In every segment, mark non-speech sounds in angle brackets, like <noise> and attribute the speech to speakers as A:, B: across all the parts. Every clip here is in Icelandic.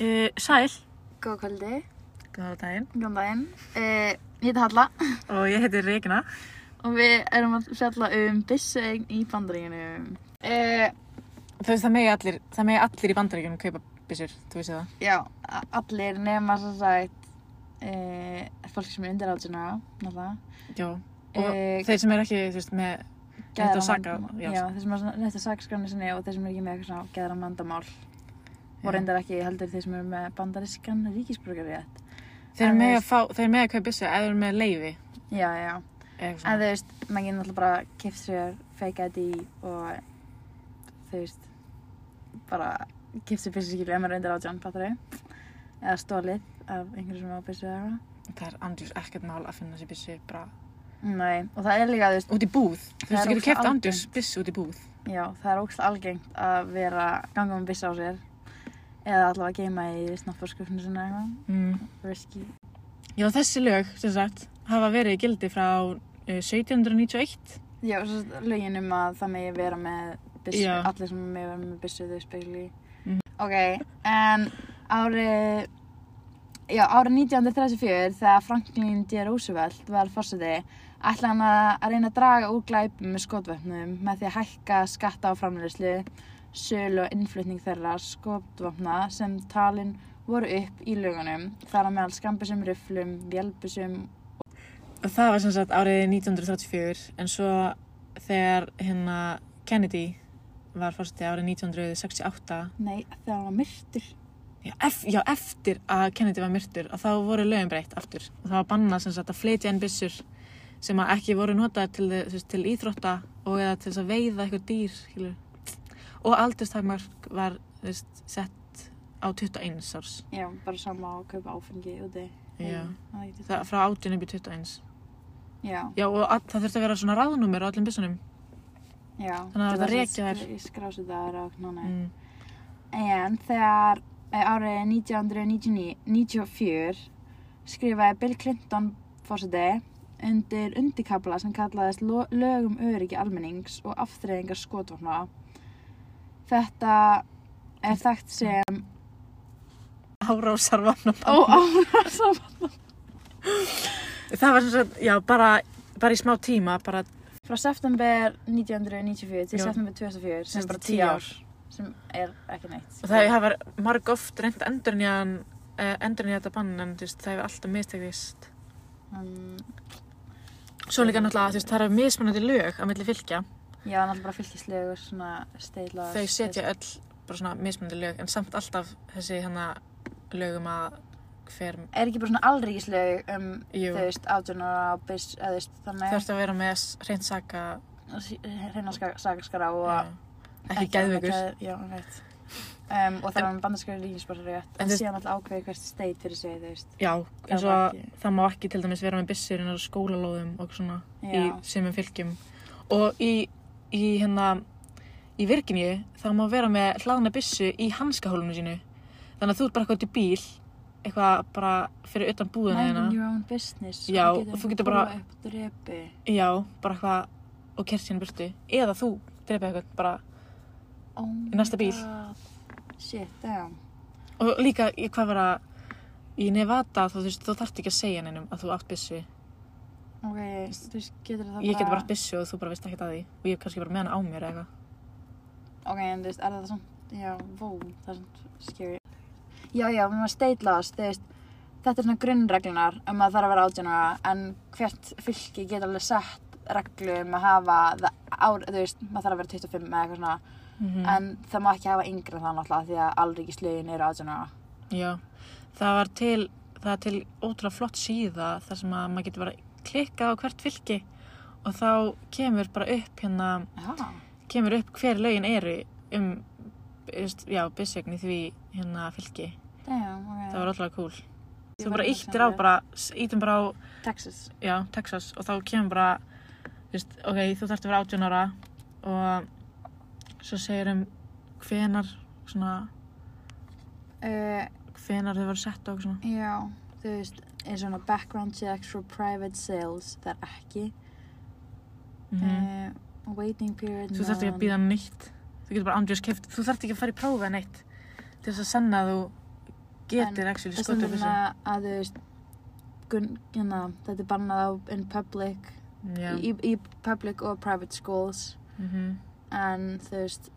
A: Uh, sæl.
B: Góða kvöldi,
A: Góða daginn.
B: góðan daginn. Uh, ég heiti Halla
A: Og ég heiti Regina.
B: og við erum að fjalla um byssuegn í bandaríkinu. Uh,
A: Þú veist, það megi allir, það megi allir í bandaríkjunum kaupa byssur, þú veist það.
B: já, a- allir nema sem sagt uh, fólk sem er undir átjuna, náttúrulega.
A: Jó. Og
B: Eh,
A: þeir sem er ekki, þú veist, með rétt á saka.
B: Geðræn vandamál.
A: Já.
B: Já, þeir sem er rétt á sakaskránu sinni og þeir sem er ekki með eitthvað svona geðra mandamál.
A: Já.
B: Og reyndar ekki heldur þeir sem eru með bandarískan ríkisbrukarétt.
A: Þeir
B: en
A: megi
B: þú
A: að fá, þeir megi að kaupa byssu eða þeir eru með leiði.
B: Já, já. En þú veist, maður getur náttúrulega bara kipt sér fake ID og þú veist, bara kipt sér byssu skilju ef maður er undir átján, fattur þau? Eða stólið af einhverju sem á byssu eða
A: Það
B: eitthvað.
A: er andjús ekkert mál að finna sér byssu bara
B: Nei, og það er líka, þú veist,
A: út í búð. Þú
B: Það
A: veist,
B: er
A: þú getur keft
B: ógeðslega
A: andjús byssu út í búð.
B: já, það er ógst algengt að vera ganga með byssu á sér eða allavega að geima í snappurskjöfnu sinna eða eitthvað,
A: Mm.
B: risky.
A: Já, þessi lög, sem sagt, hafa verið í gildi frá uh, 1791.
B: Já, og svo lögin um að það megi vera með byssu,
A: Já.
B: allir sem megi vera með byssu þau spekli.
A: Mhm.
B: Ok, en árið, já, árið 1934 þegar Franklin D. Roosevelt var fórseti, ætlaði hann að, að reyna að draga úr glæpum með skotvöfnum með því að hækka skatta á framleiðslu, sölu og innflutning þeirra skotvöfna sem talin voru upp í lögunum, þar á meðal skambisum, riflum, vélbisum
A: Og það var sem sagt árið 1934 en svo þegar hérna Kennedy var fórstu árið 1968
B: Nei, þegar hann var myrtur.
A: já, ef, já, eftir að Kennedy var myrtur að þá voru lögum breytt aftur og það var bannað sem sagt að flytja inn byssur sem að ekki voru notaðar til, þe- þú veist, til íþrótta og eða til þess að veiða eitthvað dýr skilur. og aldurstakmark var þú veist, sett á 21 árs
B: Já, bara sama að kaupa áfengi úti.
A: Já.
B: Það er ekki
A: það, frá 18 upp í 21
B: Já,
A: já, og all, það þurfti að vera svona ráðnúmer á öllum byssunum
B: já.
A: Þannig að þetta rekja þær.
B: Ég skrási það er á knónu.
A: mm.
B: En þegar eh, árið 1994 skrifaði Bill Clinton fórseti undir undikabla sem kallaðist lo- lög um öryggi almennings og aftreyðingar skotvopna. Þetta er þekkt sem
A: árásarvopnabann
B: óáðarsam.
A: <laughs> Það var sem sagt, já, bara, bara í smá tíma, bara
B: Frá september 1994 til
A: Já.
B: september 2004 sem
A: Sem
B: er bara
A: sagt
B: 10
A: 10
B: ár sem er ekki neitt. sko.
A: og það hefur marg oft reynd endurnýjan, uh, endurnýja þetta bann en þú veist, það hefur alltaf mistekist.
B: Um,
A: Svo líka náttúrulega, þú veist, það eru mismunandi lög á milli fylgja.
B: já, náttúrulega bara fylgislegur, svona steylar.
A: Þau setja öll bara svona mismunandi lög en samt alltaf þessi hérna lögum að hver
B: Er ekki bara svona alríkislög um,
A: Jú.
B: þú veist, átjónara og bis, eða þú veist, þannig
A: þurft að vera með s- hreint saka
B: hreina sakaskara og...
A: já, ekki geðveikur.
B: geð- Já, rétt. Um, og það er hann bandarskari ríkisbara rétt.
A: En
B: En
A: þú veist-
B: síðan alltaf ákveði hvert steyt fyrir sig, þú veist.
A: Já, eins og
B: má
A: að
B: ekki.
A: það má ekki til dæmis vera með byssur en á skólalóðum og svona í
B: Já.
A: semum fylgjum. Og í, í hérna, í Virginíu þá má vera með hlaðna byssu í hanskahólunum sínu. Þannig að þú ert bara eitthvað út í bíl, eitthvað bara fyrir utan búðina
B: Minding
A: þína.
B: your own business.
A: hérna. Já, og þú getur bara-
B: Þú upp drepi.
A: Já, bara eitthvað og kert hérna burtu. Eða þú drepa eitthvað bara.
B: Oh
A: Í næsta
B: my
A: bíl.
B: God. Shit, damn.
A: Og líka í hvað vera í Nevada þá þú veist, þú þarft ekki að segja neinum að þú átt byssu.
B: Ok, þú veist, getur það bara...
A: Ég geti bara átt byssu og þú bara veist ekkert að því. Og ég hef kannski bara með hana á mér eða eitthvað.
B: Ok, en þú veist, er það samt, já, vó, það er samt scary. Já, já, við maður steytlaðast, þú veist, þetta er svona grunnreglunar um að það þarf að vera átjónara, en hvert fylki getur alveg sett reglu um að hafa það ár, þú veist, maður þarf að vera 25 eða eitthvað svona,
A: Mm -hmm.
B: en það má ekki hafa yngra þannig alltaf því að alríkislögin eru átjónara.
A: Já, það var til, það er til ótrúlega flott síða þar sem að maður getur bara klikkað á hvert fylki og þá kemur bara upp hérna,
B: Já,
A: kemur upp hver lögin eru um, just, já, byssegni því hérna fylki.
B: damn, ok.
A: Það var ótrúlega cool.
B: Ég
A: Þú
B: var
A: bara
B: ekki
A: íttir á
B: sammála.
A: bara, íttum bara á,
B: Texas.
A: já, Texas og þá kemur bara, just, ok, þú þarfst að vera 18 ára og svo segir um hvenar, svona,
B: Uh,
A: hvenar þau voru sett og svona.
B: Já, þú veist, eins og svona background checks for private sales, það er ekki.
A: Mm
B: Uh, waiting period,
A: Þú þarft ekki að býða neitt Þú getur bara andjós keft Þú þarft ekki að fara í prófa neitt Til þess að sanna að þú getur ekki
B: Það
A: skotið
B: stendur
A: byssu.
B: hérna að þú veist, gun, hérna, þetta er bannað á in public,
A: Já.
B: í, í public og private schools,
A: mhm.
B: en þú veist,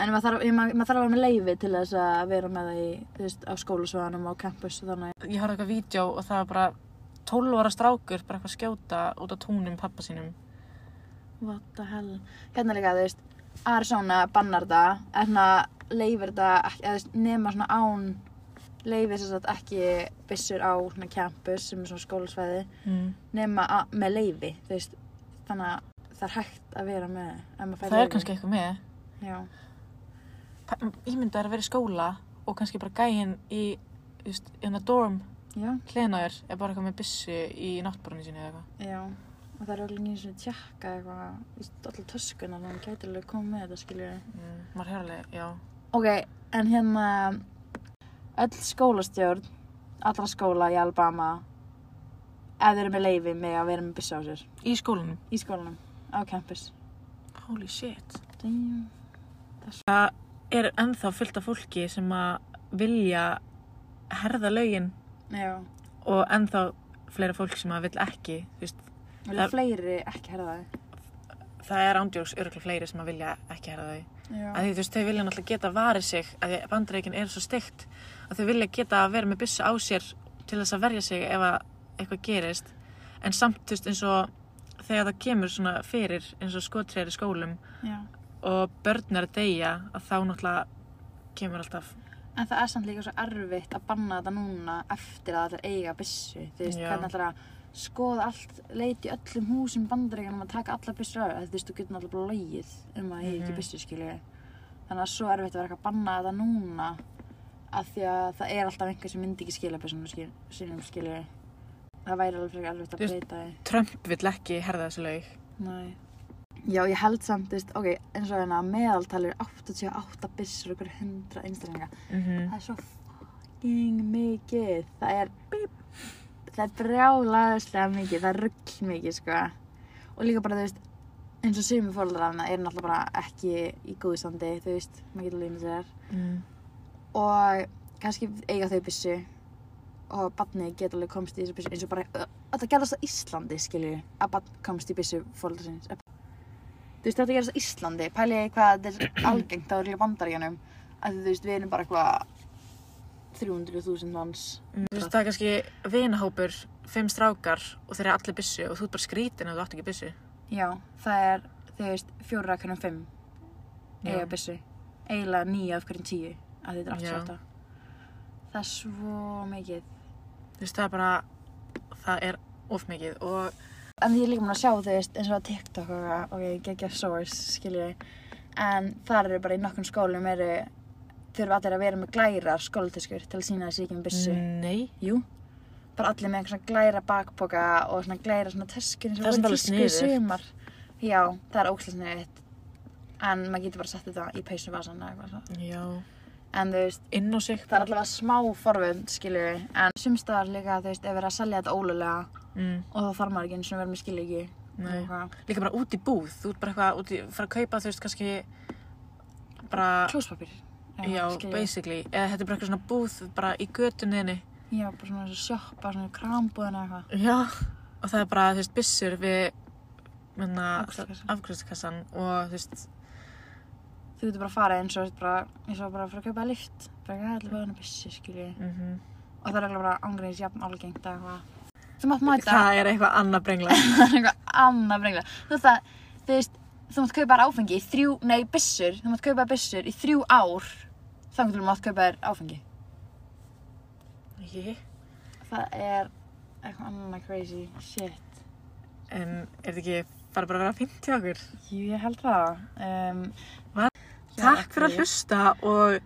B: en maður þarf, mað, mað þarf að vera með leifi til þess að vera með það í, þú veist, á skólasvæðanum á campus og þannig.
A: Ég horfði eitthvað vídeo og það var bara 12 ára strákur bara eitthvað að skjóta út á túnum pappa sínum.
B: What the hell? Hérna líka, þú veist, Arizona bannar það, en það leifir það, ekki- eða þú veist, nema svona án, leifir þess að ekki byssur á svona campus sem er svona skólasvæði.
A: Mm.
B: nema að- með leifi þú veist, þannig að það er hægt að vera með ef maður fær
A: Það er
B: leyfi.
A: kannski eitthvað með.
B: já,
A: Ímynda er að vera í skóla og kannski bara gæinn í, just, in the dorm
B: já,
A: hlenaður er bara eitthvað með byssu í náttborunni sínu eða eitthvað.
B: já og það er alveg eins og tjekka eitthvað þú veist, allir töskuna þannig að hann gæti alveg komið með þetta skilur
A: Mm. Maður hefur alveg, já.
B: ok, en hérna öll skólastjórn allra skóla í Alabama ef þeir eru með leifi með að vera með byssu á sér
A: Í skólanum.
B: í skólanum, á campus
A: Holy shit.
B: Damn.
A: Er ennþá fullt af fólki sem að vilja herða lögin
B: já,
A: og ennþá fleira fólk sem að vil ekki, þú veist,
B: og
A: Það-
B: fleiri ekki herða þau
A: það er ándjóks örgulega fleiri sem að vilja ekki herða þau.
B: já,
A: að því þú veist, þau vilja náttúrulega geta varið sig að því bandreikin er svo stygt að þau vilja geta að vera með byssu á sér til þess að verja sig ef að eitthvað gerist en samt, þú veist, eins og þegar það kemur svona fyrir eins og skotriðar í skólum
B: já.
A: og börn er að deyja að þá náttúrulega kemur alltaf
B: En það er samt líka svo erfitt að banna þetta núna eftir að allir eiga byssu. Þú veist,
A: Já.
B: hvernig allir að skoða allt, leiti í öllum húsum bandaríkanum að taka alla byssur af. Þú veist, þú getur náttúrulega bara logið um að eiga
A: Mhm.
B: ekki byssu, skilju. Þannig að það er svo erfitt að vera eitthvað að banna þetta núna af því að það er alltaf einhver sem myndi ekki skila byssunum skil, sínum, skilju. Það væri alveg frekar erfitt
A: Þú
B: að
A: veist-
B: breyta því.
A: Trump vill ekki herða þessu lög
B: Nei. Já, ég held samt, þú veist, ok, eins og hérna meðaltalur 88 byssur og hverju 100 einstaklinga.
A: mm -hmm.
B: Það er svo fucking mikið. Það er það er brjálaðislega mikið, það er rugl mikið, sko. Og líka bara, þú veist, eins og sumir fólkarafna eru náttúrulega bara ekki í góðu standi, þú veist, maður getur lífnir sér.
A: mm.
B: Og kannski eiga þau byssu og barnið getur alveg komst í þessu byssu eins og bara, ö, þetta gerðast á Íslandi, skilju, að barn komst í byssu fólkarafins. Þú veist, þetta gerðast á Íslandi, pæliði hvað þetta <clears throat> er algengt á örugglega í bandaríjanum, að þú veist, við erum bara eitthvað 300.000 manns.
A: Þú veist, það er kannski vinahópur fimm strákar og þeir eru allir byssu og þú ert bara skrítin að þú átt ekki byssu
B: Já, það er, þú veist, fjóra af hverjum fimm
A: Já.
B: eiga byssu. Eiginlega nýja af hverjum tíu, að þetta er
A: Já.
B: 88. Það er svo mikið.
A: þú veist, það er bara það er of mikið og
B: En ég er líka mun að sjá, þú veist, eins og að TikTok og eitthvað, ok, geggja source, skilju. En þar eru bara í nokkrum skólum eru, þurfa allir að vera með glærar skólatöskur til að sína þessi ekki með byssu.
A: nei
B: Jú. Bara allir með eitthvað svona glæra bakpoka og svona glæra svona töskur eins og
A: Það er samt
B: voru í
A: alveg
B: tísku í
A: sniðugt.
B: sumar. Já, það er ókslega sniðið. En maður getur bara sett þetta í peysu vasan eða eitthvað svona.
A: Já,
B: En þú veist,
A: inn á sig
B: það er allavega smá forvönd, skilju. En sumstaðar líka, þú veist, ef verið að selja þetta ólulega
A: mm,
B: og þá þarf maður ekki eins og verið með skilja ekki.
A: Nei. Líka bara út í búð, þú ert bara eitthvað út í, fara að kaupa þú veist kannski bara,
B: Klóspapir.
A: Ah. já, basically eða þetta er bara eitthvað svona búð bara í götunniðinni
B: Já, bara svona eins og sjoppa, svona krambúðin eða eitthvað.
A: Já Og það er bara, þú veist, byssur við menna,
B: Afgreiðslukassan.
A: afgriðskassan og þú veist,
B: Þú getur bara að fara eins og þú ert bara, eins og bara að fara að kaupa lyft. Bara ekki allir bæðin að byssi, skilju.
A: mm
B: og það er alveg bara ángriðis jafn algengt eða eitthvað þú mátt mæta
A: það er eitthvað annað brengla
B: það er eitthvað annað brengla þú veist að þú veist þú mátt kaupa þér áfengi í þrjú nei byssur þú mátt kaupa þér byssur í þrjú ár þannig til þú mátt kaupa þér áfengi
A: Ég?
B: það er eitthvað annað crazy shit
A: En er þetta ekki bara bara að vera fint til okkur?
B: jú ég held það um,
A: Var- Takk fyrir að hlusta og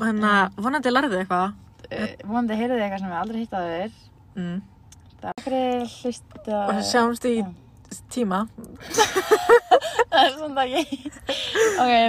A: hérna, vonandi lærðu eitthvað
B: uh, vonandi heyrðu þið eitthvað sem við aldrei hitt á þér
A: mm.
B: takk fyrir að hlusta
A: og sjáumst í
B: já.
A: tíma
B: það er svona ekki ok